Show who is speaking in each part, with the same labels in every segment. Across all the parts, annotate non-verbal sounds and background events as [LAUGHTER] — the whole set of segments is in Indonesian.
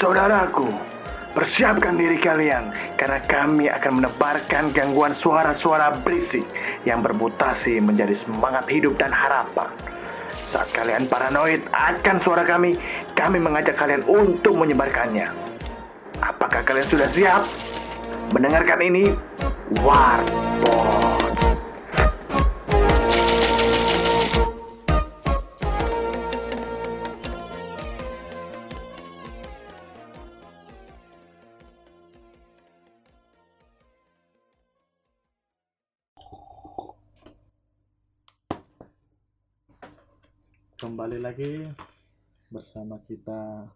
Speaker 1: Saudaraku, persiapkan diri kalian karena kami akan menebarkan gangguan suara-suara berisik yang bermutasi menjadi semangat hidup dan harapan. Saat kalian paranoid akan suara kami, kami mengajak kalian untuk menyebarkannya. Apakah kalian sudah siap? Mendengarkan ini, Warpot.
Speaker 2: kembali lagi bersama kita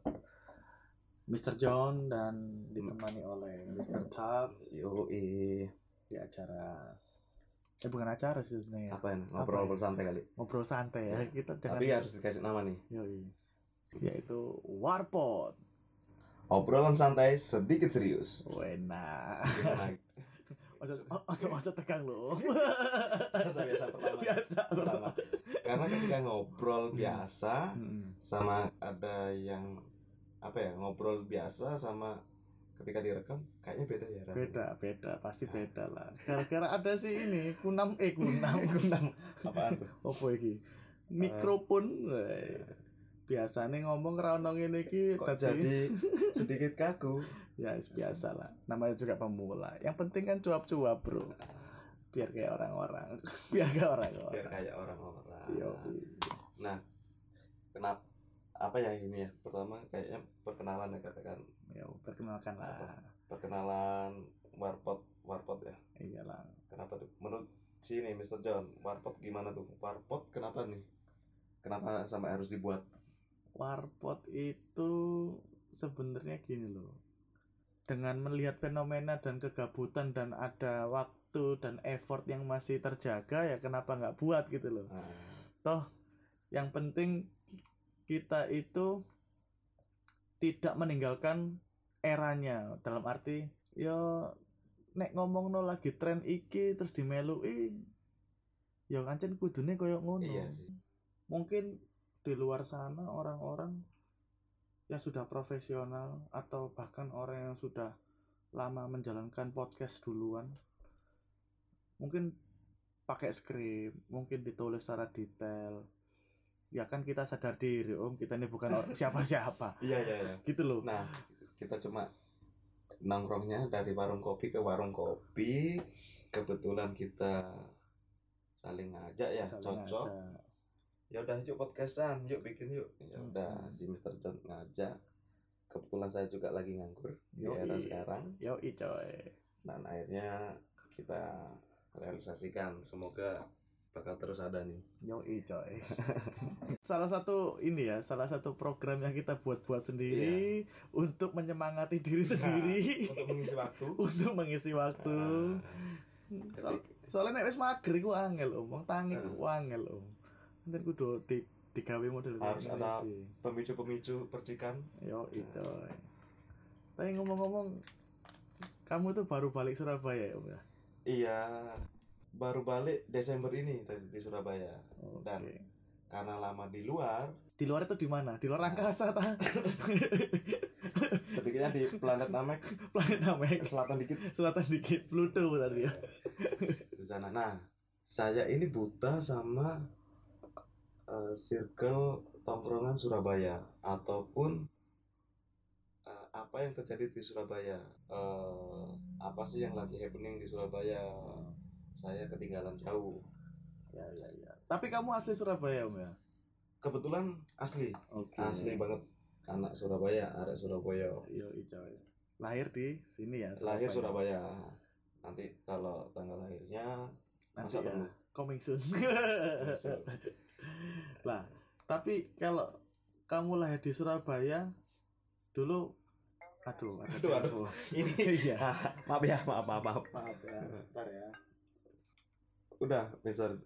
Speaker 2: Mr. John dan ditemani oleh Mr. Tab
Speaker 3: Yo,
Speaker 2: di acara eh bukan acara sih sebenarnya
Speaker 3: apa ya? Ngobrol-ngobrol santai kali.
Speaker 2: ngobrol santai ya kita jangan
Speaker 3: Iya. Tapi harus dikasih nama nih.
Speaker 2: Yoi. yaitu warpot
Speaker 3: Obrolan santai sedikit [LAUGHS] serius.
Speaker 2: wena
Speaker 3: Gimana?
Speaker 2: ojo ojo ojo tegang
Speaker 3: [LAUGHS]
Speaker 2: lo
Speaker 3: Biasa, [LAUGHS] biasa,
Speaker 2: [LAUGHS]
Speaker 3: pertama. Hmm.
Speaker 2: biasa
Speaker 3: Pertama. Karena ketika ngobrol biasa
Speaker 2: Mm-mm.
Speaker 3: sama ada yang apa ya? Ngobrol biasa sama ketika direkam kayaknya beda ya rasanya.
Speaker 2: beda beda
Speaker 3: Ah.
Speaker 2: pasti beda lah gara-gara ada sih ini kunam eh
Speaker 3: [LAUGHS]
Speaker 2: kunam kunam
Speaker 3: Apaan tuh?
Speaker 2: opo
Speaker 3: Eh.
Speaker 2: iki mikrofon weh. biasanya ngomong raunong ini ki
Speaker 3: Kok [LAUGHS] jadi sedikit kaku?
Speaker 2: ya biasa lah namanya juga pemula yang penting kan cuap-cuap bro biar kayak orang-orang [LAUGHS] biar kayak
Speaker 3: Biar
Speaker 2: orang-orang
Speaker 3: kayak orang-orang.
Speaker 2: Yo.
Speaker 3: Nah, kenapa apa ya ini ya? Pertama kayaknya perkenalan ya katakan
Speaker 2: yo perkenalkan
Speaker 3: Ah.
Speaker 2: lah
Speaker 3: perkenalan warpot warpot ya.
Speaker 2: iyalah
Speaker 3: Kenapa tuh? Menurut sini Mr. John, warpot gimana tuh? Warpot kenapa nih? Kenapa sampai harus dibuat?
Speaker 2: warpot itu sebenarnya gini loh dengan melihat fenomena dan kegabutan dan ada waktu dan effort yang masih terjaga ya kenapa nggak buat gitu loh
Speaker 3: Nah,
Speaker 2: toh yang penting kita itu tidak meninggalkan eranya dalam arti yo nek ngomong no lagi tren iki terus dimelui yo ngancen kudune koyo ngono
Speaker 3: Iya sih.
Speaker 2: mungkin di luar sana orang-orang yang sudah profesional atau bahkan orang yang sudah lama menjalankan podcast duluan mungkin pakai skrip mungkin ditulis secara detail ya kan kita sadar diri om kita ini bukan
Speaker 3: [LAUGHS]
Speaker 2: orang siapa-siapa
Speaker 3: Iya iya iya.
Speaker 2: gitu loh
Speaker 3: Nah, kita cuma nongkrongnya dari warung kopi ke warung kopi. Kebetulan kita saling ngajak ya,
Speaker 2: Saling
Speaker 3: cocok.
Speaker 2: aja.
Speaker 3: ya udah yuk podcastan yuk bikin yuk ya
Speaker 2: Hmm.
Speaker 3: udah si Mr. John ngajak kebetulan saya juga lagi nganggur di
Speaker 2: Yoi.
Speaker 3: era sekarang
Speaker 2: Yoi, coy
Speaker 3: dan akhirnya kita realisasikan semoga bakal terus ada nih
Speaker 2: Yoi,
Speaker 3: [LAUGHS]
Speaker 2: coy salah satu ini ya salah satu program yang kita buat-buat sendiri
Speaker 3: Iya.
Speaker 2: untuk menyemangati diri
Speaker 3: Nah,
Speaker 2: sendiri
Speaker 3: untuk mengisi waktu
Speaker 2: untuk mengisi waktu.
Speaker 3: Nah,
Speaker 2: So-
Speaker 3: ketik-
Speaker 2: soalnya nek wis mager iku angel, Om. Wong tangi iku
Speaker 3: Ah.
Speaker 2: angel, Om. Nanti kudu di digawe model
Speaker 3: Harus
Speaker 2: kayak
Speaker 3: ada- Ah.
Speaker 2: ngene iki.
Speaker 3: pemicu-pemicu percikan
Speaker 2: Yo, itu. Tapi ngomong-ngomong kamu tuh baru balik Surabaya ya, Om ya?
Speaker 3: iya baru balik Desember ini tadi di Surabaya
Speaker 2: Oke.
Speaker 3: Dan- karena lama di luar
Speaker 2: Di luar itu di mana? Di luar angkasa ta? [LAUGHS]
Speaker 3: sedikitnya di planet Namek
Speaker 2: Planet Namek.
Speaker 3: selatan dikit
Speaker 2: Selatan dikit Pluto tadi ya.
Speaker 3: di sana. Nah, saya ini buta sama eh, circle tongkrongan Surabaya ataupun eh, apa yang terjadi di Surabaya. Eh, apa sih yang lagi happening di Surabaya? Saya ketinggalan jauh.
Speaker 2: Ya, ya, ya. Tapi kamu asli Surabaya, Om ya?
Speaker 3: Kebetulan asli,
Speaker 2: Oke.
Speaker 3: asli banget anak Surabaya, anak Surabaya.
Speaker 2: Yo, itu. Lahir di sini ya,
Speaker 3: Lahir Surabaya. Nanti kalau tanggal lahirnya
Speaker 2: Nanti
Speaker 3: masa
Speaker 2: ya,
Speaker 3: perlu?
Speaker 2: coming soon.
Speaker 3: Masa-
Speaker 2: [LAUGHS] lah tapi kalau kamu lahir di Surabaya dulu aduh ada
Speaker 3: Aduh, aduh.
Speaker 2: telepon.
Speaker 3: [LAUGHS] Ini
Speaker 2: [LAUGHS] iya
Speaker 3: maaf ya, maaf maaf maaf.
Speaker 2: maaf ya bentar ya
Speaker 3: Udah, Mr.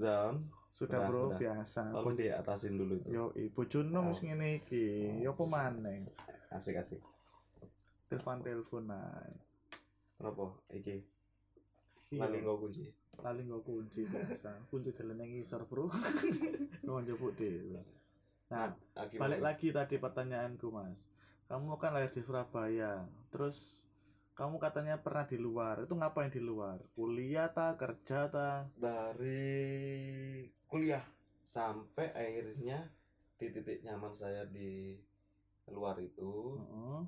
Speaker 3: John.
Speaker 2: sudah
Speaker 3: Udah,
Speaker 2: bro
Speaker 3: udah.
Speaker 2: biasa
Speaker 3: Tolong diatasin dulu itu.
Speaker 2: yo ibu Juno wis ngene iki
Speaker 3: Oh.
Speaker 2: yo apa maneh
Speaker 3: Asik asik.
Speaker 2: telepon telepon ae
Speaker 3: Kenapa? Iki lali
Speaker 2: Iya,
Speaker 3: nggo kunci.
Speaker 2: lali nggo kunci biasa kunci dalan nang ngisor bro [LAUGHS] ngono njupuk dhewe nah
Speaker 3: Nah,
Speaker 2: balik lagi tadi pertanyaanku mas kamu kan lahir di Surabaya terus kamu katanya pernah di luar itu ngapain di luar kuliah ta kerja ta
Speaker 3: dari kuliah sampai akhirnya di titik nyaman saya di luar itu
Speaker 2: Heeh.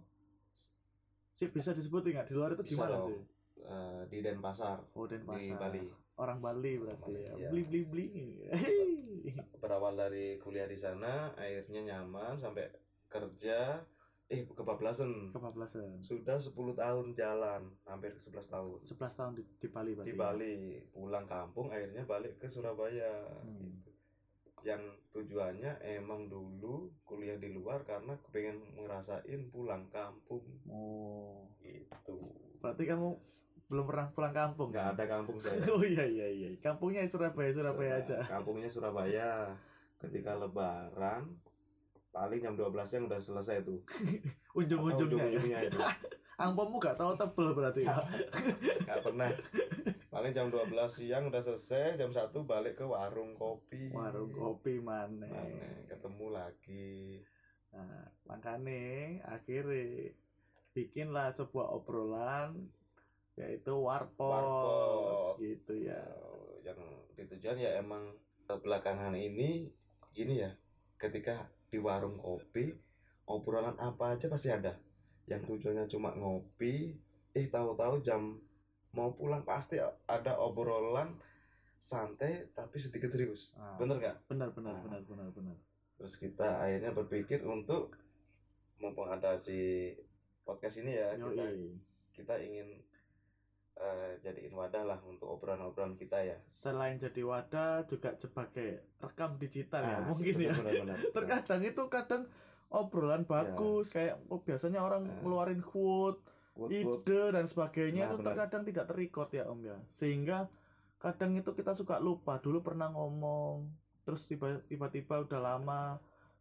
Speaker 2: sih bisa disebut nggak di luar itu
Speaker 3: Bisa
Speaker 2: gimana
Speaker 3: dong.
Speaker 2: sih
Speaker 3: eh, di Denpasar
Speaker 2: oh Denpasar
Speaker 3: di Bali
Speaker 2: orang Bali berarti
Speaker 3: Bali,
Speaker 2: ya
Speaker 3: iya.
Speaker 2: beli beli beli
Speaker 3: berawal dari kuliah di sana akhirnya nyaman sampai kerja eh kebablasan
Speaker 2: [LAUGHS] kebablasan
Speaker 3: sudah 10 tahun jalan hampir 11 tahun
Speaker 2: 11 tahun di, di Bali berarti
Speaker 3: di
Speaker 2: ya?
Speaker 3: Bali pulang kampung akhirnya balik ke Surabaya
Speaker 2: Hmm.
Speaker 3: gitu. yang tujuannya emang dulu kuliah di luar karena pengen ngerasain pulang kampung
Speaker 2: oh
Speaker 3: gitu
Speaker 2: berarti kamu belum pernah pulang kampung
Speaker 3: nggak ada kampung saya
Speaker 2: [LAUGHS] oh iya iya iya kampungnya Surabaya Surabaya aja
Speaker 3: kampungnya Surabaya ketika Lebaran paling jam 12 siang udah selesai tuh
Speaker 2: unjung
Speaker 3: Atau
Speaker 2: unjungnya ya
Speaker 3: ujung-ujungnya
Speaker 2: [LAUGHS]
Speaker 3: itu
Speaker 2: angpomu gak tahu tebel berarti ya
Speaker 3: nggak pernah paling jam 12 siang udah selesai jam 1 balik ke warung kopi
Speaker 2: warung kopi mana
Speaker 3: Aneh, ketemu lagi
Speaker 2: Nah, makanya akhirnya bikinlah sebuah obrolan yaitu warpot,
Speaker 3: Warpot.
Speaker 2: gitu ya.
Speaker 3: Eh, yang ditujuan ya emang belakangan ini gini ya ketika di warung kopi obrolan apa aja pasti ada yang tujuannya cuma ngopi eh tahu-tahu jam mau pulang pasti ada obrolan santai tapi sedikit serius
Speaker 2: Nah,
Speaker 3: bener nggak
Speaker 2: benar benar
Speaker 3: Nah.
Speaker 2: benar benar benar.
Speaker 3: terus kita akhirnya berpikir untuk mengadasi podcast ini ya kita
Speaker 2: Yoi.
Speaker 3: kita ingin eh, jadiin wadah lah untuk obrolan-obrolan kita ya
Speaker 2: Selain jadi wadah juga sebagai rekam digital ya
Speaker 3: Ah,
Speaker 2: mungkin ya.
Speaker 3: benar-benar.
Speaker 2: [LAUGHS] Terkadang itu kadang obrolan
Speaker 3: Iya.
Speaker 2: bagus kayak oh, biasanya orang
Speaker 3: Ah.
Speaker 2: ngeluarin quote,
Speaker 3: Quote, quote.
Speaker 2: ide dan sebagainya
Speaker 3: Nah,
Speaker 2: itu
Speaker 3: benar.
Speaker 2: terkadang tidak terrecord ya Om ya. Sehingga kadang itu kita suka lupa dulu pernah ngomong terus tiba- tiba-tiba udah lama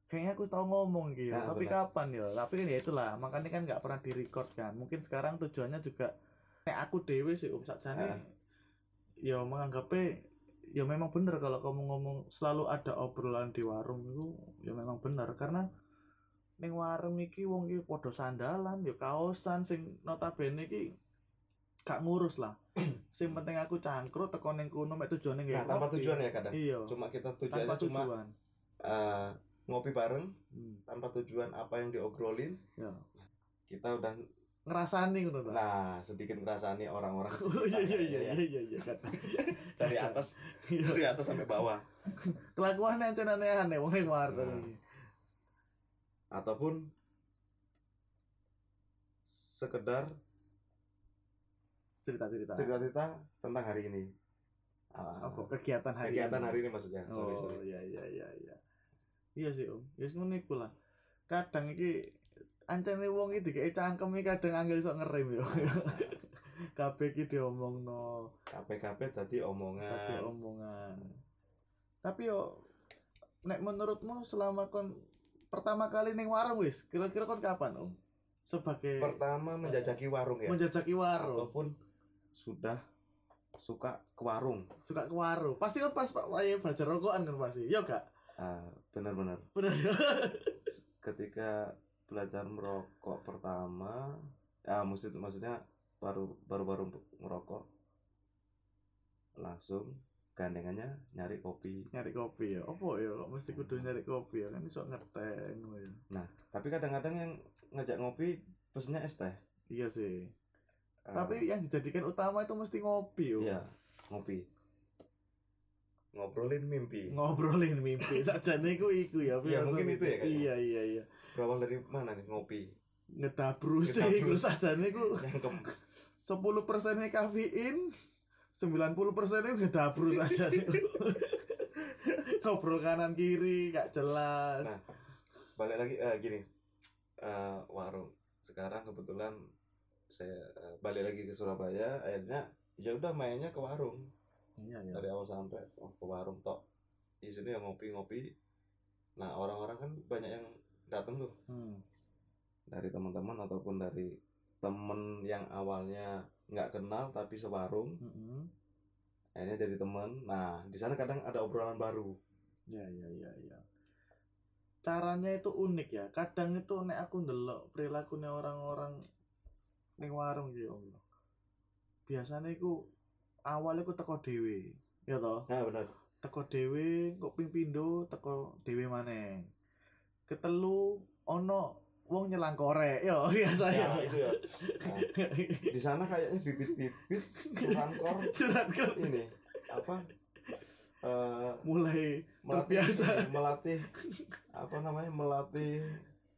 Speaker 2: kayaknya aku tahu ngomong gitu
Speaker 3: Nah,
Speaker 2: tapi
Speaker 3: benar.
Speaker 2: kapan ya tapi kan ya itulah makanya kan nggak pernah direcord kan mungkin sekarang tujuannya juga nek aku dewe sih Om sakjane
Speaker 3: Ah.
Speaker 2: ya menganggapnya ya memang bener kalau kamu ngomong selalu ada obrolan di warung itu ya memang bener karena ning warung iki wong iki padha sandalan ya kaosan sing notabene iki gak ngurus
Speaker 3: [CLEARS THROAT]
Speaker 2: lah sing penting aku cangkruk teko ning kono mek tujuane
Speaker 3: Nah,
Speaker 2: nggak
Speaker 3: tanpa tujuan ya kadang.
Speaker 2: iya
Speaker 3: Cuma kita
Speaker 2: tanpa
Speaker 3: tujuannya cuma
Speaker 2: tujuan
Speaker 3: eh, ngopi bareng
Speaker 2: hmm.
Speaker 3: tanpa tujuan apa yang diobrolin.
Speaker 2: ya
Speaker 3: Kita udah
Speaker 2: ngerasani ngono ta
Speaker 3: nah sedikit ngerasani orang-orang
Speaker 2: [LAUGHS] Oh, iya iya iya
Speaker 3: sekitarnya ya.
Speaker 2: iya iya iya kan
Speaker 3: dari atas
Speaker 2: [LAUGHS] Iya.
Speaker 3: dari atas sampai bawah
Speaker 2: kelakuan encen aneh-aneh wong ning warung
Speaker 3: Nah.
Speaker 2: iki
Speaker 3: ataupun sekedar
Speaker 2: cerita-cerita
Speaker 3: cerita-cerita tentang hari ini. Ah,
Speaker 2: apa kegiatan hari
Speaker 3: kegiatan
Speaker 2: ini.
Speaker 3: hari ini maksudnya. Sorry,
Speaker 2: oh
Speaker 3: sorry.
Speaker 2: iya iya iya iya iya sih om ya ngono iku lah kadang iki ancene wong iki dikeki cangkem iki kadang angel iso ngerem
Speaker 3: [LAUGHS]
Speaker 2: yo kabeh iki diomongno
Speaker 3: KPKP tadi
Speaker 2: kabeh
Speaker 3: omongan.
Speaker 2: omongan tapi yo nek menurutmu selama kon pertama kali ning warung wis kira-kira kon kapan om sebagai
Speaker 3: Pertama menjajaki warung ya.
Speaker 2: menjajaki warung
Speaker 3: Ataupun sudah suka ke warung.
Speaker 2: suka ke warung pasti kan pas pak wayahe belajar rokokan kan pasti yo gak
Speaker 3: Ah, benar-benar
Speaker 2: bener ya
Speaker 3: ketika belajar merokok pertama ya maksud maksudnya baru baru baru merokok langsung gandengannya nyari kopi
Speaker 2: nyari kopi ya opo ya kok mesti
Speaker 3: Hmm.
Speaker 2: kudu nyari kopi ya kan iso ngeteng ngono ya
Speaker 3: tapi kadang-kadang yang ngajak ngopi pesennya es teh
Speaker 2: iya sih
Speaker 3: Ah,
Speaker 2: tapi yang dijadikan utama itu mesti ngopi yo
Speaker 3: iya ngopi ngobrolin mimpi
Speaker 2: ngobrolin
Speaker 3: [LAUGHS]
Speaker 2: mimpi saja niku iku ya
Speaker 3: Iya, mungkin
Speaker 2: filosofi.
Speaker 3: itu ya, kayaknya.
Speaker 2: iya iya iya
Speaker 3: berawal dari mana nih ngopi
Speaker 2: ngetabrus sih
Speaker 3: Ngetabrus.
Speaker 2: iku saja niku
Speaker 3: yang ke
Speaker 2: 10 persennya kafein 90 persennya ngetabrus saja
Speaker 3: [LAUGHS]
Speaker 2: niku ngobrol kanan kiri gak jelas
Speaker 3: Nah. balik lagi eh, gini Eh, warung sekarang kebetulan saya eh, balik lagi ke Surabaya akhirnya ya udah mainnya ke warung
Speaker 2: iya iya
Speaker 3: dari awal sampai oh, ke warung tok di sini ya ngopi-ngopi nah orang-orang kan banyak yang datang tuh
Speaker 2: hmm.
Speaker 3: dari teman-teman ataupun dari temen yang awalnya nggak kenal tapi sewarung
Speaker 2: Mm-mm.
Speaker 3: akhirnya jadi teman nah di sana kadang ada obrolan baru
Speaker 2: Ya, ya, ya, ya. caranya itu unik ya kadang itu nek aku ndelok perilakunya orang-orang ning warung gitu Om. biasanya iku awalnya aku teko dhewe ya toh
Speaker 3: Nah, benar.
Speaker 2: teko dhewe kok ping pindho teko dhewe maneh ketelu ono wong nyelang korek yo [LAUGHS] biasa ya
Speaker 3: Nah, itu ya. Nah, di sana kayaknya bibit-bibit kurangkor
Speaker 2: Jerat kan?
Speaker 3: ini apa eh,
Speaker 2: mulai
Speaker 3: melatih
Speaker 2: Terbiasa.
Speaker 3: melatih apa namanya melatih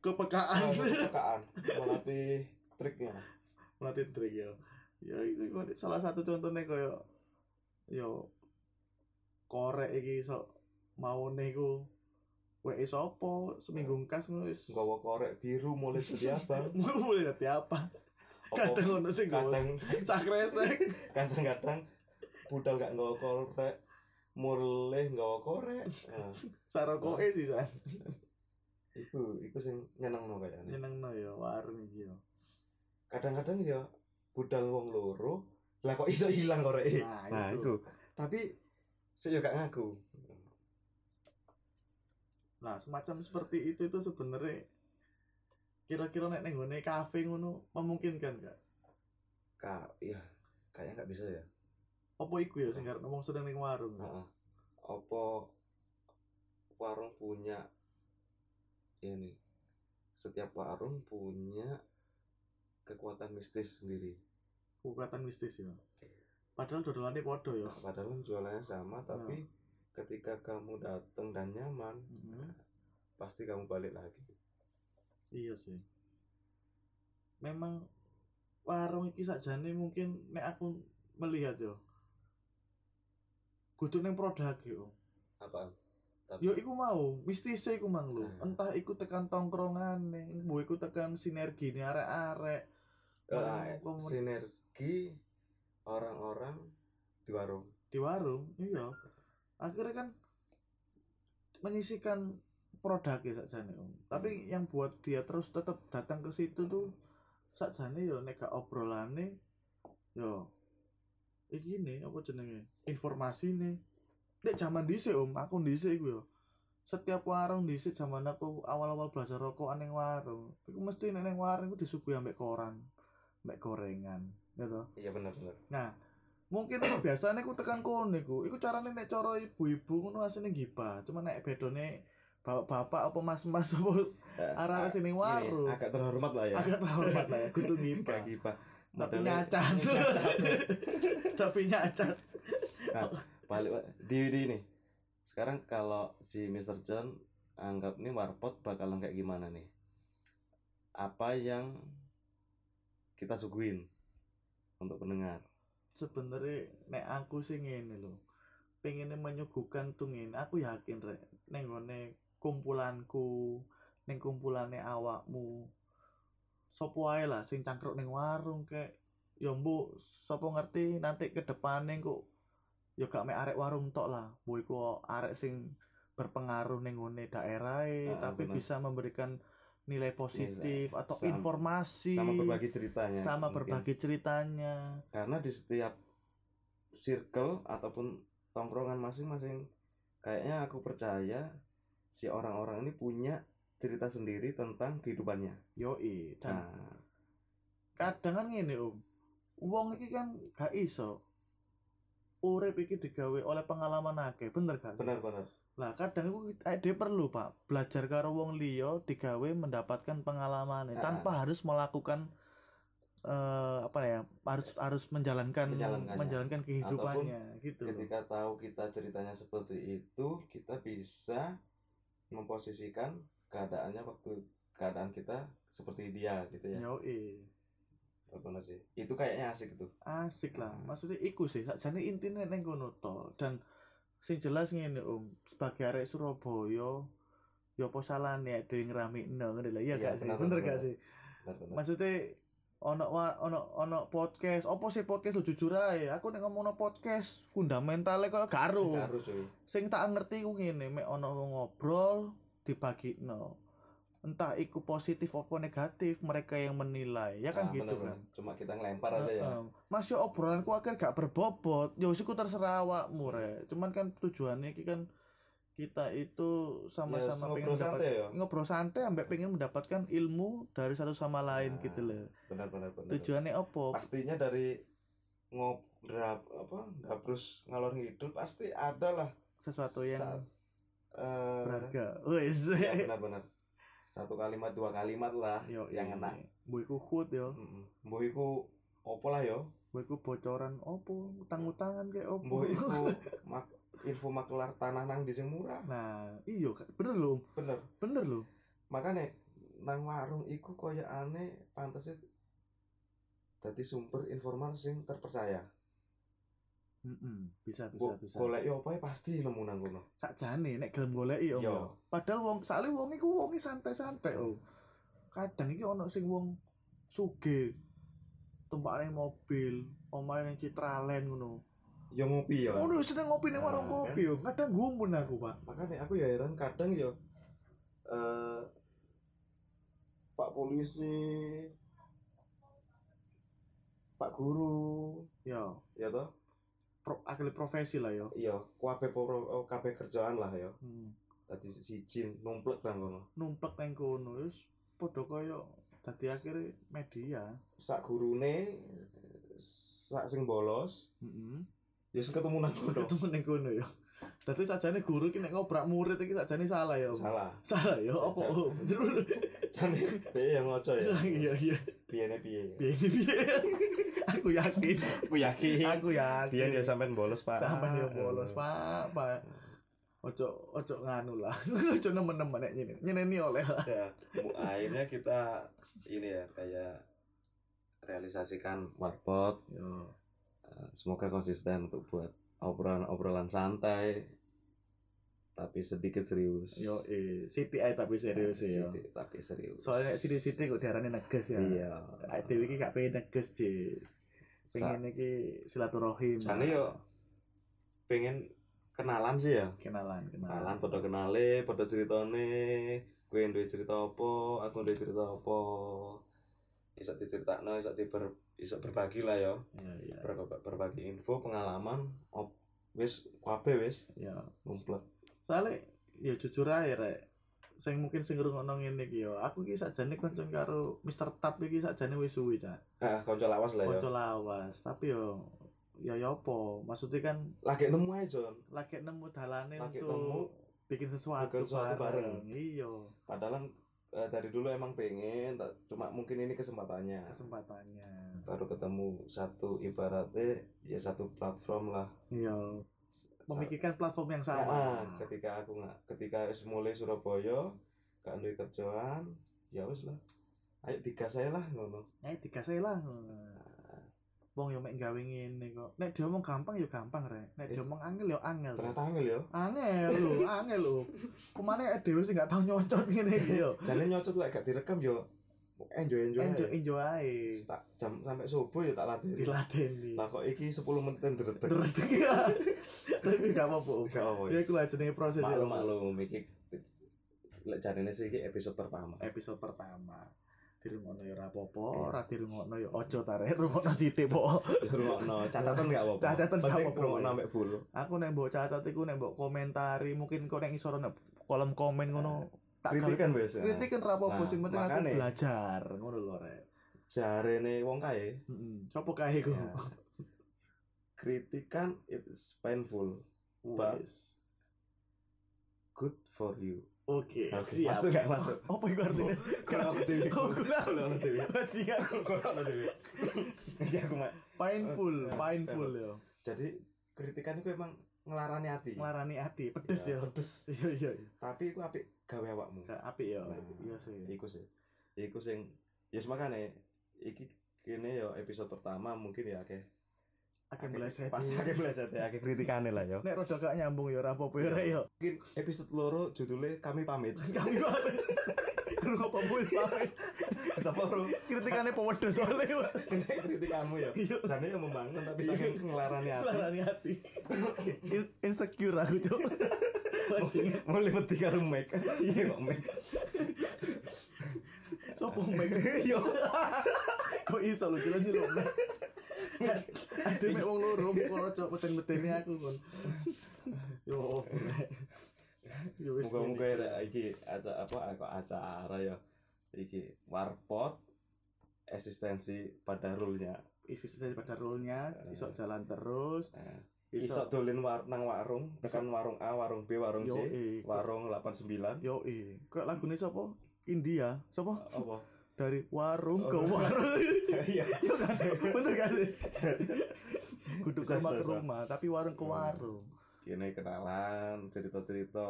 Speaker 2: kepekaan
Speaker 3: eh, kepekaan melatih triknya
Speaker 2: melatih trik ya ya itu kok salah satu contohnya kaya yo korek iki sok maune iku wae sopo seminggu ngkas ngono wis
Speaker 3: nggawa korek biru mulai jadi abang
Speaker 2: mulai dadi apa
Speaker 3: Opo-
Speaker 2: kadang ono sing nggawa
Speaker 3: kadang
Speaker 2: cakresek
Speaker 3: kadang-kadang budal gak nggawa korek mulai nggawa korek nah,
Speaker 2: sarokoe sih san
Speaker 3: iku iku sing nyeneng no kayaknya
Speaker 2: nyenengno ya warung iki yo
Speaker 3: kadang-kadang ya budal wong loro lah kok iso hilang korek
Speaker 2: nah itu
Speaker 3: tapi saya juga ngaku
Speaker 2: Nah, semacam seperti itu itu sebenarnya kira-kira nek ning nggone kafe ngono memungkinkan gak?
Speaker 3: kak ya kayaknya nggak bisa ya
Speaker 2: Apa iku ya sing arep ngomong sedang ning warung?
Speaker 3: Heeh. Opo warung punya ini setiap warung punya kekuatan mistis sendiri
Speaker 2: Kekuatan mistis ya. Padahal dodolane padha ya.
Speaker 3: padahal kan jualannya
Speaker 2: Iya.
Speaker 3: sama tapi ketika kamu datang dan nyaman
Speaker 2: Mhm.
Speaker 3: pasti kamu balik lagi
Speaker 2: Iya sih. Memang warung iki sakjane mungkin nek aku melihat ya, yo. Kudu ning produk yo.
Speaker 3: apa tapi
Speaker 2: Yo oh. Ya iku mau, mistis iku mang lho.
Speaker 3: Ah.
Speaker 2: Entah iku tekan tongkrongane, mbuh iku tekan sinergine arek-arek.
Speaker 3: eh,
Speaker 2: komun-
Speaker 3: sinergi orang-orang di warung
Speaker 2: di warung iya akhirnya kan menyisihkan produknya sakjane om tapi yang buat dia terus tetap datang ke situ tuh sakjane yo nek gak obrolane yo iki nih apa jenenge informasi nih nek zaman dhisik om aku dhisik iku yo setiap warung dhisik zaman aku awal-awal belajar rokokan ning warung iku mesti nek ning warung iku disuguhi ambek koran ambek gorengan gitu
Speaker 3: iya benar-benar
Speaker 2: Nah, mungkin iku biasane ku tekan kono iku. Iku carane nek cara ibu-ibu ngono asine gibah. Cuma nek bedone bapak-bapak apa mas-mas apa [LAUGHS]
Speaker 3: Eh,
Speaker 2: arah-arah sini
Speaker 3: Ini,
Speaker 2: warung.
Speaker 3: agak terhormat lah ya
Speaker 2: Agak terhormat lah ya, kudu
Speaker 3: Kayak
Speaker 2: gibah.
Speaker 3: gibah.
Speaker 2: Tapi
Speaker 3: Modelnya-
Speaker 2: nyacat. [LAUGHS] Tapi nyacat.
Speaker 3: Balik
Speaker 2: Iya.
Speaker 3: Pak. di di nih. Sekarang kalau si Mr. John anggap nih warpot bakalan kayak gimana nih? Apa yang kita suguhin untuk pendengar?
Speaker 2: Sebenarnya nek aku sih ngene lho. Pengennya menyuguhkan tuh ngene. Aku yakin rek ning nggone kumpulanku, ning kumpulane awakmu. Sopo ae lah sing cangkruk ning warung kek. Ya mbok sopo ngerti nanti ke depane kok ya gak mek arek warung tok lah. Mbok iku arek sing berpengaruh ning nggone daerahe
Speaker 3: Ah,
Speaker 2: tapi
Speaker 3: bener. Iya,
Speaker 2: bisa memberikan nilai positif atau
Speaker 3: Sama-
Speaker 2: informasi
Speaker 3: Sama berbagi ceritanya.
Speaker 2: sama
Speaker 3: mungkin.
Speaker 2: berbagi ceritanya
Speaker 3: Karena di setiap circle ataupun tongkrongan masing-masing kayaknya aku percaya si orang-orang ini punya cerita sendiri tentang kehidupannya.
Speaker 2: Yoi, dan
Speaker 3: Nah,
Speaker 2: kadang kan ngene Om. Wong iki kan gak iso urip iki digawe oleh pengalaman akeh, bener gak?
Speaker 3: benar-benar
Speaker 2: Lah kadang iku eh, dia perlu, Pak, belajar karo wong liya digawe mendapatkan pengalaman
Speaker 3: Ah.
Speaker 2: tanpa harus melakukan eh apa ya? harus harus menjalankan
Speaker 3: Menjalankannya.
Speaker 2: menjalankan kehidupannya gitu. loh.
Speaker 3: ketika tahu kita ceritanya seperti itu kita bisa memposisikan keadaannya waktu keadaan kita seperti dia gitu ya
Speaker 2: Yoi.
Speaker 3: benar sih itu kayaknya asik itu
Speaker 2: asik lah
Speaker 3: Hmm.
Speaker 2: maksudnya iku sih sakjane intine ning kono to dan sing jelas ngene Om sebagai arek Surabaya ya apa salahne nek dhewe ngramikno ngene lho ya
Speaker 3: Iya,
Speaker 2: gak sih
Speaker 3: benar,
Speaker 2: bener
Speaker 3: benar,
Speaker 2: gak
Speaker 3: benar.
Speaker 2: sih
Speaker 3: benar-benar
Speaker 2: maksudnya ono wa- ono ono podcast opo sih podcast lu jujur ae aku nek ngomongno podcast fundamentale kok gak aruh.
Speaker 3: harus cuy
Speaker 2: sing tak ngerti ku ngene mek ana wong ngobrol dibagino entah iku positif apa negatif mereka yang menilai ya kan
Speaker 3: Nah,
Speaker 2: gitu
Speaker 3: benar-benar.
Speaker 2: kan
Speaker 3: cuma kita ngelempar aja ya
Speaker 2: Heeh. Mas yo obrolanku akhir gak berbobot. Ya wis iku terserah awakmu rek. Cuman kan tujuannya iki kan kita itu sama-sama pengen
Speaker 3: ngobrol santai
Speaker 2: mendapat
Speaker 3: ya
Speaker 2: ngobrol santai ambek pengen mendapatkan ilmu dari satu sama lain
Speaker 3: Nah,
Speaker 2: gitu loh.
Speaker 3: benar benar benar
Speaker 2: Tujuannya opo?
Speaker 3: pastinya dari ngobrol apa nggak terus ngalor ngidul pasti ada lah
Speaker 2: Sesuatu yang
Speaker 3: sa- eh,
Speaker 2: berharga.
Speaker 3: [LAUGHS]
Speaker 2: Wes.
Speaker 3: ya benar benar satu kalimat dua kalimat lah
Speaker 2: Yo,
Speaker 3: yang enak
Speaker 2: Mbok iku hood yo.
Speaker 3: Mm-mm. Mbuh iku opo lah yo
Speaker 2: Mbok iku bocoran opo? Utang-utangan kayak opo?
Speaker 3: Mbuh iku mak- info makelar tanah nang di sing murah
Speaker 2: [LAUGHS] Nah, iya Kak. bener loh,
Speaker 3: bener
Speaker 2: bener loh.
Speaker 3: makanya nang warung iku koyo aneh pantasnya dadi sumber informal sing terpercaya
Speaker 2: Mm-mm. bisa bisa
Speaker 3: Bo-
Speaker 2: bisa.
Speaker 3: golek yo opo ae pasti nemu nang kono
Speaker 2: Sakjane nek gelem goleki yo.
Speaker 3: yo
Speaker 2: Padahal wong sakle wong iku wonge santai-santai oh. Kadang iki ono sing wong sugih tumpakane mobil, omahe nang Citraland ngono.
Speaker 3: yo ngopi yo
Speaker 2: Ngono seneng ngopi nang warung
Speaker 3: Nah,
Speaker 2: kopi yo. Kadang gumun aku, Pak.
Speaker 3: makanya aku ya heran kadang yo eh pak polisi pak guru
Speaker 2: Yo,
Speaker 3: ya toh
Speaker 2: pro, akhirnya profesi lah yo.
Speaker 3: iya kabeh pro- kabeh kerjaan lah ya
Speaker 2: Hmm.
Speaker 3: tadi si Jin numplek nang kono
Speaker 2: Numplek nang kono wis padha kaya dadi akhirnya media.
Speaker 3: sak gurune sak sing bolos
Speaker 2: Heeh.
Speaker 3: ya sing ketemu nang kono
Speaker 2: Ketemu nang kono yo. Dadi sajane guru ki nek ngobrak murid iki sajane salah yo.
Speaker 3: salah
Speaker 2: Salah yo apa? Om?
Speaker 3: jane [LAUGHS] piye yang ngoco ya
Speaker 2: Iya iya.
Speaker 3: piyene piye
Speaker 2: Biyen biyen. Ya,
Speaker 3: [LAUGHS]
Speaker 2: Aku yakin.
Speaker 3: aku yakin
Speaker 2: Aku yakin.
Speaker 3: piye ya sampean bolos Pak
Speaker 2: sampean yo bolos, Pak, Pak. Ojo ojo nganu lah. [LAUGHS] Ojo nemen-nemen nek nyene. Nyeneni oleh lah.
Speaker 3: ya mu- akhirnya kita ini ya kayak realisasikan warpot
Speaker 2: Yo.
Speaker 3: Eh, semoga konsisten untuk buat obrolan-obrolan santai tapi sedikit serius
Speaker 2: Yo eh siti ae tapi serius e,
Speaker 3: Eh,
Speaker 2: yo.
Speaker 3: sedikit tapi serius
Speaker 2: Soalnya nek sithik-sithik kok diarani neges ya.
Speaker 3: iya
Speaker 2: Awake dhewe iki gak pengen neges, Ci.
Speaker 3: pengen
Speaker 2: Pengen iki silaturahim.
Speaker 3: Jane yo- pengen kenalan sih ya
Speaker 2: kenalan, kenalan.
Speaker 3: kenalan podo kenale podo ceritane gue duwe cerita apa aku duwe cerita apa bisa diceritakno bisa diber bisa berbagi lah yo
Speaker 2: Iya, iya.
Speaker 3: Ber- berbagi info pengalaman op wis kabeh wis
Speaker 2: Ya.
Speaker 3: ngumpet
Speaker 2: Soale ya jujur ae rek. Sing mungkin sing ngrungokno ngene iki yo, aku iki sakjane kencan karo Mr. Tap iki sakjane wis suwi, Cak.
Speaker 3: ah kanca lawas lah yo
Speaker 2: Kanca lawas, tapi yo ya ya apa? Maksudnya kan
Speaker 3: lagi nemu ae Jon
Speaker 2: lagi nemu dalane untuk
Speaker 3: Lagi nemu,
Speaker 2: bikin sesuatu,
Speaker 3: bikin sesuatu bareng.
Speaker 2: Iya,
Speaker 3: padahal eh, dari dulu emang pengen ta- cuma mungkin ini kesempatannya
Speaker 2: kesempatannya.
Speaker 3: baru ketemu satu ibaratnya ya satu platform lah
Speaker 2: Iya,
Speaker 3: Sa-
Speaker 2: memikirkan Hmm. platform yang sama.
Speaker 3: Nah, ketika aku nggak ketika wis mulai Surabaya gak duwe kerjaan ya wis lah ayo digas saya lah ngono
Speaker 2: Nah, tiga saya lah.
Speaker 3: Ah.
Speaker 2: Wong yo mek gawe ngene kok. Nek diomong gampang yo gampang rek. Nek
Speaker 3: Eh.
Speaker 2: diomong angel yo angel.
Speaker 3: ternyata angel ya. yo
Speaker 2: Angel lho, angel lho. Pemane dhewe sing gak tau nyocot ngene iki yo.
Speaker 3: jane nyocot lek gak direkam yo enjoy enjoy
Speaker 2: Enjoy enjoy ae.
Speaker 3: tak jam sampai subuh ya tak latih
Speaker 2: Diladeni.
Speaker 3: lah kok iki 10 menit ndredeg
Speaker 2: [LAUGHS] Dredeg ya. Tapi gak apa-apa.
Speaker 3: gak apa
Speaker 2: Ya iku lah jenenge proses ya.
Speaker 3: maklum maklum iki lek jarene sih iki episode pertama
Speaker 2: Episode pertama. Dirungokno ya ora apa-apa,
Speaker 3: Iya.
Speaker 2: ora dirungokno ya aja tare rungokno sithik po.
Speaker 3: wis
Speaker 2: [LAUGHS]
Speaker 3: rungokno cacatan gak apa-apa
Speaker 2: Cacatan gak
Speaker 3: penting
Speaker 2: apa-apa.
Speaker 3: rungokno sampai bulu
Speaker 2: Aku nek mbok cacat iku nek mbok komentari, mungkin kok nek iso nek kolom komen ngono tak gawe
Speaker 3: Eh, kritikan wis
Speaker 2: kritik kan rapopo
Speaker 3: Nah,
Speaker 2: sing penting aku
Speaker 3: makane.
Speaker 2: belajar ngono lho rek
Speaker 3: jarene wong kae
Speaker 2: heeh sapa kae ku
Speaker 3: Ya. kritikan it's painful Ba-
Speaker 2: Wes.
Speaker 3: good for you
Speaker 2: oke
Speaker 3: Oke,
Speaker 2: Ya, siap
Speaker 3: masuk gak
Speaker 2: [LAUGHS]
Speaker 3: masuk
Speaker 2: apa iku artine
Speaker 3: kalau [LAUGHS] aku dewi
Speaker 2: Oh, gula.
Speaker 3: kalau ya. aku dewi
Speaker 2: Bajingan.
Speaker 3: kalau aku dewi [LAUGHS] Jadi Iya, aku mak
Speaker 2: painful
Speaker 3: Eh,
Speaker 2: painful yo
Speaker 3: jadi kritikan itu emang ngelarani hati
Speaker 2: nglarani ati pedes
Speaker 3: Ya,
Speaker 2: yo
Speaker 3: pedes
Speaker 2: iya iya iya.
Speaker 3: tapi aku apik gawe awakmu
Speaker 2: gak apik yo
Speaker 3: Nah.
Speaker 2: iya sih
Speaker 3: iku sih iku sing ya makane iki kene yo episode pertama mungkin ya akeh
Speaker 2: akeh
Speaker 3: akeh-
Speaker 2: meleset
Speaker 3: pas akeh meleset ya akeh kritikane lah yo
Speaker 2: nek
Speaker 3: Iya.
Speaker 2: rada gak nyambung yo ora apa-apa yo rek yo
Speaker 3: mungkin episode loro judulnya kami pamit
Speaker 2: [LAUGHS] kami pamit Kurang apa pun pamit
Speaker 3: Sapa ro?
Speaker 2: kritikane pewedes soalnya Pak.
Speaker 3: Kena kritikanmu ya.
Speaker 2: Iya.
Speaker 3: Jane yang membangun tapi saking ngelarani hati.
Speaker 2: Larani hati. In- insecure aku
Speaker 3: [LAUGHS]
Speaker 2: cok. Bajingan.
Speaker 3: Mulai peti karo mic. Iya kok mic.
Speaker 2: Sopo mek [LAUGHS] yo. gitu. Kok iso lu jelas lu mek. Ada mek wong loro kok cok meten-metene aku kon. Yo. Ya [LAUGHS] wis
Speaker 3: Moga-moga
Speaker 2: ngene.
Speaker 3: ya iki acara apa kok acara ya. Iki warpot eksistensi pada rule-nya.
Speaker 2: isi daripada rule-nya
Speaker 3: Eh.
Speaker 2: iso jalan terus
Speaker 3: Eh,
Speaker 2: iso
Speaker 3: Iso dolen war nang warung, tekan warung A, warung B, warung
Speaker 2: yo
Speaker 3: C,
Speaker 2: eh
Speaker 3: warung 89.
Speaker 2: yo eh kok lagune sapa India sapa
Speaker 3: Apa?
Speaker 2: dari warung ke
Speaker 3: Oh. [LAUGHS]
Speaker 2: warung
Speaker 3: Iya.
Speaker 2: Iya kan? Bener kan? Kudu ke
Speaker 3: Bisa,
Speaker 2: rumah ke
Speaker 3: bisa.
Speaker 2: rumah, tapi warung ke
Speaker 3: Hmm.
Speaker 2: warung.
Speaker 3: Kene kenalan, cerita-cerita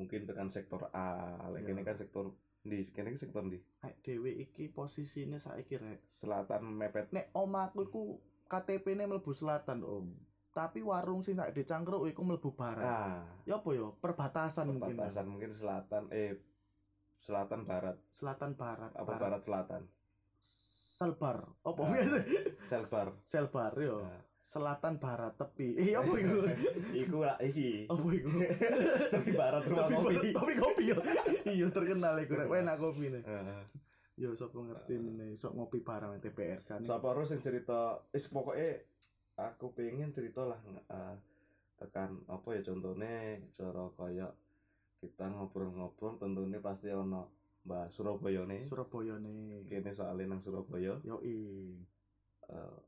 Speaker 3: mungkin tekan sektor A, lek
Speaker 2: Iya.
Speaker 3: kene kan sektor di kene kan sektor di
Speaker 2: Nek dhewe iki posisine saiki rek.
Speaker 3: selatan mepet
Speaker 2: Nek omahku iku KTP-ne mlebu selatan, Om. Tapi warung sing sak Desa Cangkruk iku mlebu barat.
Speaker 3: ah
Speaker 2: Ya apa ya? Perbatasan, mungkin. ah.
Speaker 3: perbatasan mungkin selatan eh selatan barat
Speaker 2: Selatan barat.
Speaker 3: apa barat selatan
Speaker 2: Selbar. Apa
Speaker 3: Ah.
Speaker 2: biasa?
Speaker 3: selbar
Speaker 2: Selbar yo.
Speaker 3: Ah.
Speaker 2: Selatan barat tepi. [LAUGHS] Eh Oh. apa
Speaker 3: [LAUGHS]
Speaker 2: Oh. iku?
Speaker 3: iku lah iki
Speaker 2: Apa
Speaker 3: [LAUGHS]
Speaker 2: iku?
Speaker 3: tapi barat rumah
Speaker 2: Tapi
Speaker 3: kopi
Speaker 2: tapi kopi
Speaker 3: [LAUGHS]
Speaker 2: yo. Iya terkenal iku rek.
Speaker 3: Terkenal.
Speaker 2: Enak kopi
Speaker 3: Heeh.
Speaker 2: Yo sapa ngerti nih, sok ngopi bareng nang TPR kan.
Speaker 3: sapa ro sing cerita is pokoknya aku pengen cerita lah nge- eh, tekan apa ya contohnya cara kaya kita ngobrol-ngobrol tentunya pasti ono Mbak Surabaya nih
Speaker 2: Surabaya nih.
Speaker 3: kene soalnya nang Surabaya
Speaker 2: Yo
Speaker 3: eh,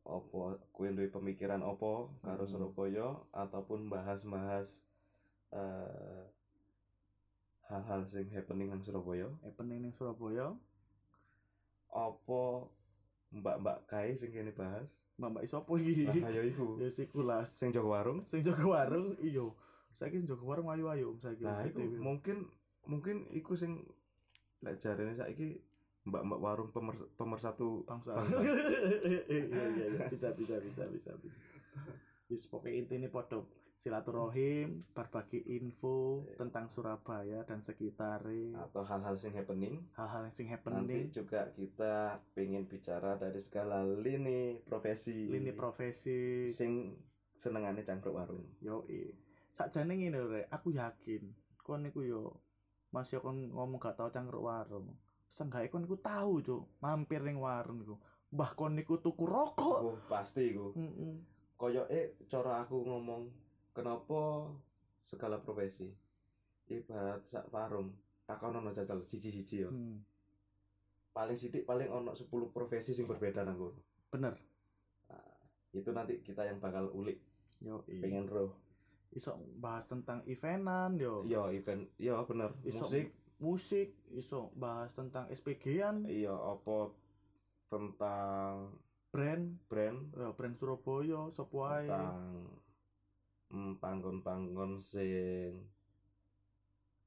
Speaker 3: opo kue duwe pemikiran opo karo
Speaker 2: Hmm.
Speaker 3: Surabaya ataupun bahas-bahas eh, hal-hal sing happening nang Surabaya
Speaker 2: happening ning Surabaya,
Speaker 3: opo mbak-mbak kae sing kene bahas
Speaker 2: Mbak iso apa iki?
Speaker 3: nah ayo iku
Speaker 2: Ya sikulas.
Speaker 3: sing jaga warung
Speaker 2: Sing jaga warung iyo. Saiki sing jaga warung ayu-ayu om saiki.
Speaker 3: nah iku
Speaker 2: Saiki, Om.
Speaker 3: mungkin mungkin iku sing lek jarene saiki mbak-mbak warung pemer-
Speaker 2: [LAUGHS]
Speaker 3: pemersatu
Speaker 2: bangsa.
Speaker 3: Bangsa.
Speaker 2: Iya iya iya bisa bisa bisa bisa bisa. Wis pokoke intine padha silaturahim, berbagi info
Speaker 3: Iya.
Speaker 2: tentang Surabaya dan sekitarnya,
Speaker 3: atau hal-hal sing happening
Speaker 2: hal-hal yang sing
Speaker 3: nanti
Speaker 2: happening,
Speaker 3: juga kita pengen bicara dari skala lini profesi
Speaker 2: lini profesi,
Speaker 3: sing senengane cangkruk warung.
Speaker 2: Yo i. Sakjane ngene lho, Rek, aku yakin kon niku yo masih kon ngomong gak tau cangkruk warung. Seenggaknya kon niku tahu, Cuk, mampir ning warung niku. Mbah kon niku tuku rokok.
Speaker 3: Oh, pasti iku.
Speaker 2: Heeh.
Speaker 3: Koyoke cara aku ngomong kenapa skala profesi ibarat sak warung takon ono jajal siji-siji yo.
Speaker 2: Hmm.
Speaker 3: Paling sithik paling ono 10 profesi sing berbeda nang kono.
Speaker 2: Bener.
Speaker 3: Itu nanti kita yang bakal ulik
Speaker 2: Yo i.
Speaker 3: pengen roh.
Speaker 2: Iso bahas tentang eventan yo.
Speaker 3: Yo event, yo bener.
Speaker 2: Iso-
Speaker 3: Iya, Musik,
Speaker 2: Musik, iso bahas tentang SPG-an,
Speaker 3: yo iya, apa tentang
Speaker 2: brand,
Speaker 3: brand,
Speaker 2: yo, brand Surabaya, sopo ae.
Speaker 3: tentang mm, panggon-panggon sing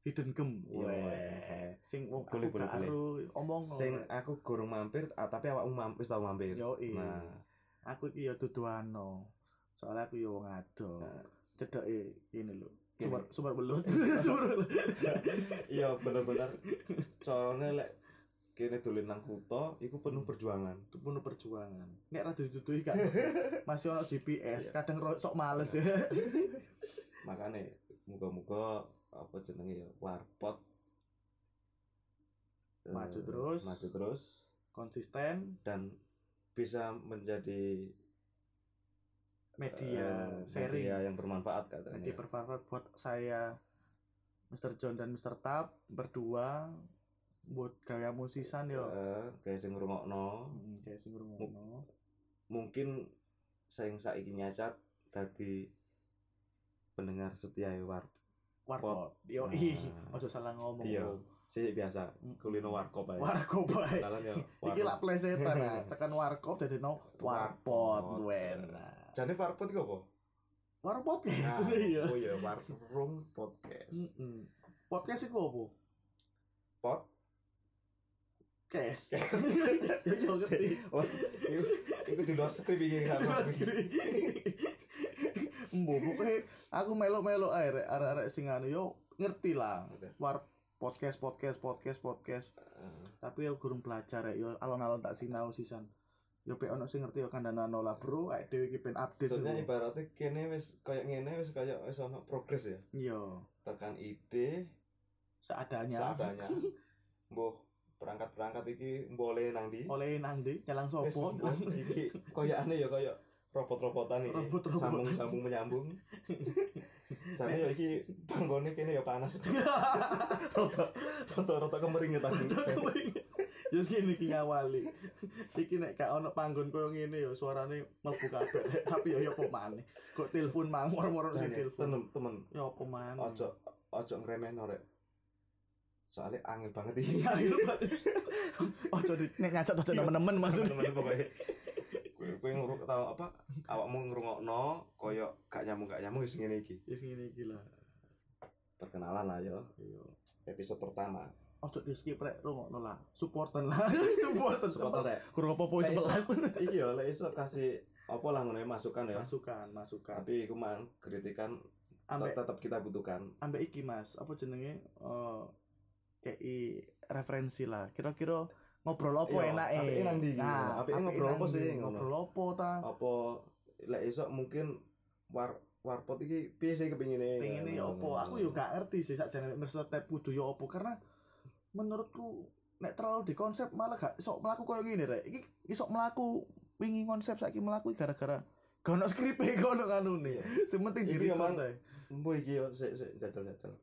Speaker 2: Hidden gem.
Speaker 3: Yo,
Speaker 2: Weh. Sing wong aku
Speaker 3: Boleh, boleh,
Speaker 2: gak aru omong.
Speaker 3: sing
Speaker 2: Rek.
Speaker 3: aku gurung mampir ah, tapi awakmu mampir wis tau mampir
Speaker 2: Yo iya. i.
Speaker 3: nah [LAUGHS]
Speaker 2: aku iki ya duduano soalnya aku ya wong ado
Speaker 3: nah,
Speaker 2: cedek ini lho
Speaker 3: Gini.
Speaker 2: sumber sumber
Speaker 3: [LAUGHS]
Speaker 2: belut [LAUGHS] sumber belut
Speaker 3: iya bener-bener carane lek kene dolen nang kutha iku penuh
Speaker 2: [LAUGHS]
Speaker 3: perjuangan
Speaker 2: itu penuh perjuangan nek rada dituduhi kan
Speaker 3: [LAUGHS]
Speaker 2: masih ono GPS
Speaker 3: Iya.
Speaker 2: kadang ro- sok males ya
Speaker 3: Nah. makane muga-muga apa jenenge ya warpot eh,
Speaker 2: Maju terus.
Speaker 3: maju terus
Speaker 2: [LAUGHS] konsisten
Speaker 3: dan bisa menjadi
Speaker 2: media
Speaker 3: eh,
Speaker 2: seri
Speaker 3: media yang bermanfaat
Speaker 2: jadi
Speaker 3: katanya
Speaker 2: bermanfaat buat saya Mr. John dan Mr. Tab berdua buat gaya musisan yo
Speaker 3: Eh, kayak sing ngrungokno
Speaker 2: Hmm, kayak sing ngono
Speaker 3: mungkin sing saiki nyacat dadi pendengar setia ya, war
Speaker 2: warkop yo
Speaker 3: Nah.
Speaker 2: ih ojo salah ngomong
Speaker 3: Iya.
Speaker 2: Om.
Speaker 3: sih biasa
Speaker 2: Mm-mm.
Speaker 3: kulino warkop ae
Speaker 2: warkop bae
Speaker 3: Dalam ya
Speaker 2: Eh, Iki lak plesetan ah,
Speaker 3: [LAUGHS]
Speaker 2: tekan warkop jadi no warpot
Speaker 3: Warpot.
Speaker 2: wena.
Speaker 3: jane warpot iku apa
Speaker 2: Warpot
Speaker 3: Nah,
Speaker 2: ya [LAUGHS] iya. Mm.
Speaker 3: oh iya warung podcast
Speaker 2: Mm-mm. Podcast iku apa?
Speaker 3: pod
Speaker 2: Cash.
Speaker 3: Cash.
Speaker 2: Yo [LAUGHS] yo
Speaker 3: [LAUGHS]
Speaker 2: ngerti.
Speaker 3: oh, iku, iku di luar skrip iki
Speaker 2: Iya,
Speaker 3: kan
Speaker 2: [LAUGHS] Mbo pokoke eh, aku melo-melo ae rek arek-arek sing anu yo ngerti lah. War podcast podcast podcast podcast tapi yo gurung belajar rek yo alon-alon tak sinau sisan. Yo pe ono sing ngerti yo kandhanano lah bro, awake dhewe iki ben update.
Speaker 3: Soalnya
Speaker 2: dulu.
Speaker 3: ibaratnya kene wis kayak ngene wis kayak wis ono progres ya.
Speaker 2: Yo,
Speaker 3: Tekan ide,
Speaker 2: seadanya. [LAUGHS]
Speaker 3: seadanya. Mbuh, perangkat-perangkat iki mbole nang ndi?
Speaker 2: Oleh nang ndi, nyelang [LAUGHS]
Speaker 3: [LAUGHS] Wis,
Speaker 2: sopo.
Speaker 3: mbok, iki koyakane ya koyo robot-robotan ini
Speaker 2: Robot-robotan.
Speaker 3: sambung-sambung menyambung Jane ya iki panggone kene ya panas [LAUGHS] roto-roto kemeringetan
Speaker 2: Ya sini iki ngawali. Iki nek gak ono panggon koyo ngene ya suarane mlebu kabeh. [LAUGHS] Tapi ya ya apa maneh. Kok telepon mang moro-moro sing
Speaker 3: Jane
Speaker 2: telepon.
Speaker 3: temen temen
Speaker 2: Ya apa maneh.
Speaker 3: ojo ojo ngremehno rek soalnya angin banget iki
Speaker 2: gitu, Ojo di nek nyacot ojo nemen-nemen [LAUGHS] maksudnya.
Speaker 3: teman-teman pokoknya kue kue ngurung tahu apa awakmu ngrungokno koyo gak nyambung gak nyambung wis ngene iki
Speaker 2: Ya sing ngene iki lah.
Speaker 3: perkenalan lah yo
Speaker 2: Iya.
Speaker 3: episode pertama
Speaker 2: Ojo di skip rek rungokno lah. Supporten [LAUGHS] lah. Supporten.
Speaker 3: Supporter, rek.
Speaker 2: Kurang apa poin
Speaker 3: Eh, iso.
Speaker 2: 11.
Speaker 3: iki yo lek iso kasih apa lah ngono ya, masukan ya
Speaker 2: Masukan, masukan.
Speaker 3: tapi iku man kritikan
Speaker 2: Ambek
Speaker 3: tetap kita butuhkan
Speaker 2: ambek iki Mas, apa jenenge eh KI referensi lah. Kira-kira ngobrol apa
Speaker 3: Iya,
Speaker 2: enake? Nah,
Speaker 3: apike nang ndi iki? Apike
Speaker 2: apike
Speaker 3: ngobrol
Speaker 2: nang
Speaker 3: apa
Speaker 2: ndi?
Speaker 3: sih, ngono?
Speaker 2: Ngobrol apa ta?
Speaker 3: apa lek iso mungkin war warpot iki piye sih kepingine
Speaker 2: Pengen ya apa? Aku yo gak ngerti sih sakjane mesti tep kudu yo apa karena menurutku nek terlalu di konsep malah gak iso mlaku koyo ngene rek. Iki iso mlaku wingi konsep saiki mlaku iki gara-gara gak ono skripe [LAUGHS] gak ono kanune. Sing penting
Speaker 3: Iki
Speaker 2: diri
Speaker 3: yo, Mang.
Speaker 2: kon
Speaker 3: Mbo iki yo sik sik jajal-jajal.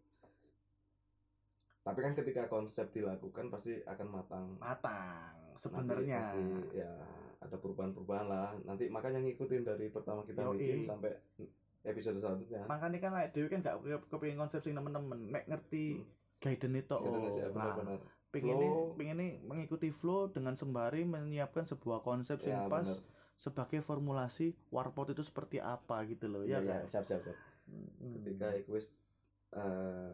Speaker 3: Tapi kan ketika konsep dilakukan pasti akan matang.
Speaker 2: matang
Speaker 3: Nanti
Speaker 2: sebenarnya.
Speaker 3: pasti ya ada perubahan-perubahan lah. Nanti makanya ngikutin dari pertama kita
Speaker 2: Yoi.
Speaker 3: bikin sampai episode selanjutnya.
Speaker 2: makanya kan like, dewi kan gak ke- kepengen konsep sing temen-temen nek ngerti
Speaker 3: Hmm.
Speaker 2: guidance itu
Speaker 3: Gitu
Speaker 2: oh
Speaker 3: Nes, ya,
Speaker 2: nah
Speaker 3: benar-benar.
Speaker 2: pengennya
Speaker 3: Flow.
Speaker 2: pengennya mengikuti flow dengan sembari menyiapkan sebuah konsep
Speaker 3: Ya,
Speaker 2: yang pas
Speaker 3: benar.
Speaker 2: sebagai formulasi warpot itu seperti apa gitu loh
Speaker 3: Iya,
Speaker 2: ya, kan
Speaker 3: iya, siap siap siap.
Speaker 2: Hmm.
Speaker 3: Ketika iku wis eh,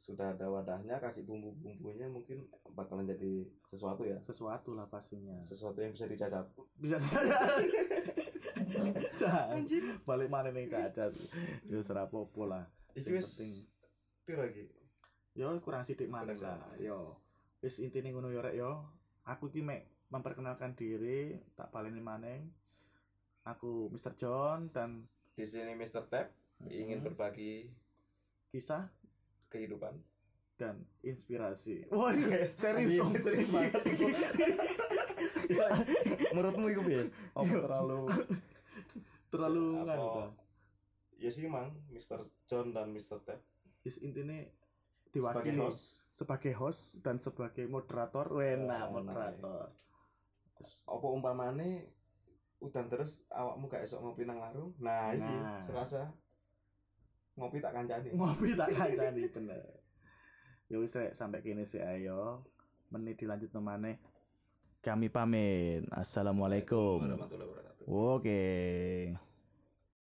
Speaker 3: sudah ada wadahnya kasih bumbu-bumbunya mungkin bakalan jadi sesuatu ya.
Speaker 2: sesuatu lah
Speaker 3: [LAUGHS]
Speaker 2: pastinya
Speaker 3: Sesuatu yang bisa dicacat.
Speaker 2: bisa Jangan. Nah, balik mana nih gak ada itu serapopo lah
Speaker 3: Iki
Speaker 2: Sing
Speaker 3: wis
Speaker 2: penting.
Speaker 3: piro iki?
Speaker 2: yo kurang sidik mana lah
Speaker 3: Kurang sidik.
Speaker 2: yo wis intine ngono yo rek yo aku ki mek memperkenalkan diri tak baleni maneng aku Mr. John dan
Speaker 3: Di sini Mr. Tap ingin
Speaker 2: Mm,
Speaker 3: berbagi
Speaker 2: kisah
Speaker 3: kehidupan.
Speaker 2: dan inspirasi. Wah, serius Iya.
Speaker 3: Iya,
Speaker 2: dong,
Speaker 3: serius
Speaker 2: [LAUGHS]
Speaker 3: banget. Bisa, menurutmu itu piye? Apa
Speaker 2: Iya.
Speaker 3: terlalu
Speaker 2: Terlalu
Speaker 3: Apa-
Speaker 2: kan itu.
Speaker 3: Ya sih Mang, Mr. John dan Mr. Tep
Speaker 2: Is intine
Speaker 3: sebagai
Speaker 2: diwakili sebagai host.
Speaker 3: host.
Speaker 2: dan sebagai moderator.
Speaker 3: Ah,
Speaker 2: Wena,
Speaker 3: enak,
Speaker 2: moderator.
Speaker 3: Apa umpamane udan terus awakmu gak esok ngopi nang warung? Nah, iki
Speaker 2: Nah.
Speaker 3: serasa ngopi tak kancani.
Speaker 2: Ngopi tak kancani bener. Ya wis rek, sampai kini sih ayo. Menit dilanjut nemane. Kami pamit. Assalamualaikum.
Speaker 3: Warahmatullahi wabarakatuh.
Speaker 2: Oke.